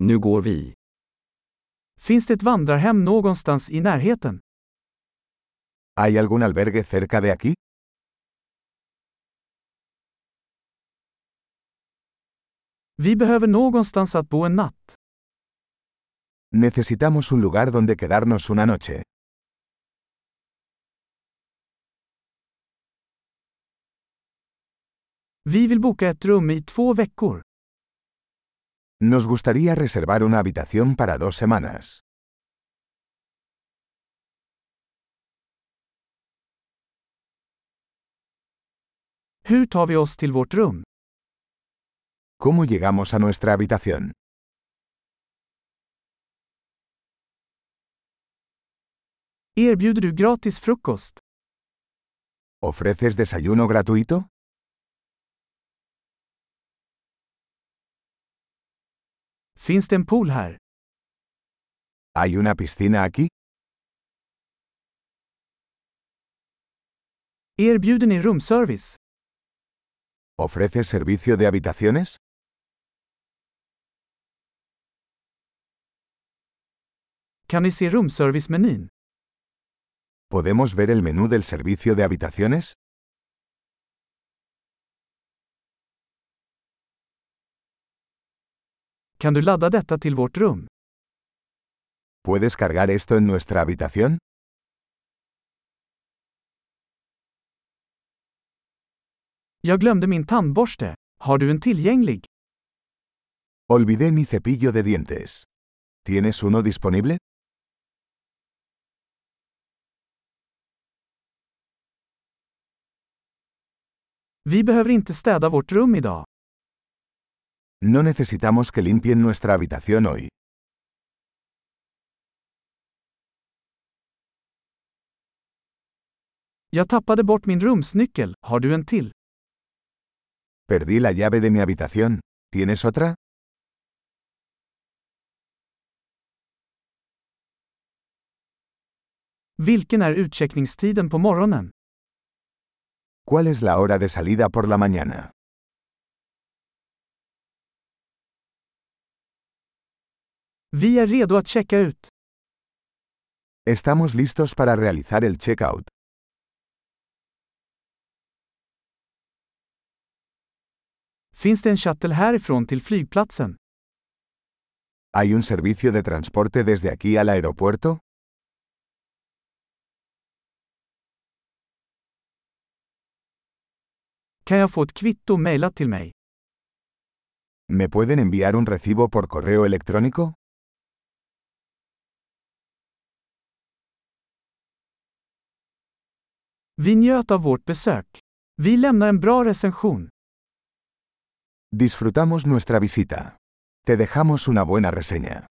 Nu går vi. Finns det ett vandrarhem någonstans i närheten? ¿Hay algún albergue cerca de aquí? Vi behöver någonstans att bo en natt. Necesitamos un lugar donde quedarnos una noche. Vi vill boka ett rum i två veckor. Nos gustaría reservar una habitación para dos semanas. Hur tar vi oss till vårt rum? ¿Cómo llegamos a nuestra habitación? Erbjuder du gratis frukost? ¿Ofreces desayuno gratuito? Finns det en pool här? ¿Hay una piscina aquí? Erbjuder ni rumservice? ¿Ofreces servicio de habitaciones? Kan ni se rumservice-menyn? ¿Podemos ver el menú del servicio de habitaciones? Kan du ladda detta till vårt rum? ¿Puedes cargar esto en nuestra habitación? Jag glömde min tandborste. Har du en tillgänglig? Olvidé mi cepillo de dientes. ¿Tienes uno disponible? Vi behöver inte städa vårt rum idag. No necesitamos que limpien nuestra habitación hoy. Jag tappade bort min rumsnyckel. Har du en till? Perdí la llave de mi habitación. ¿Tienes otra? Vilken är utcheckningstiden på morgonen? ¿Cuál es la hora de salida por la mañana? Vi är redo att checka ut. Estamos listos para realizar el checkout. Finns det en shuttle härifrån till flygplatsen? ¿Hay un servicio de transporte desde aquí al aeropuerto? Kan jag få ett kvitto mejlat till mig? ¿Me pueden enviar un recibo por correo electrónico? Vi njöt av vårt besök. Vi lämnar en bra recension. Disfrutamos nuestra visita. Te dejamos una buena reseña.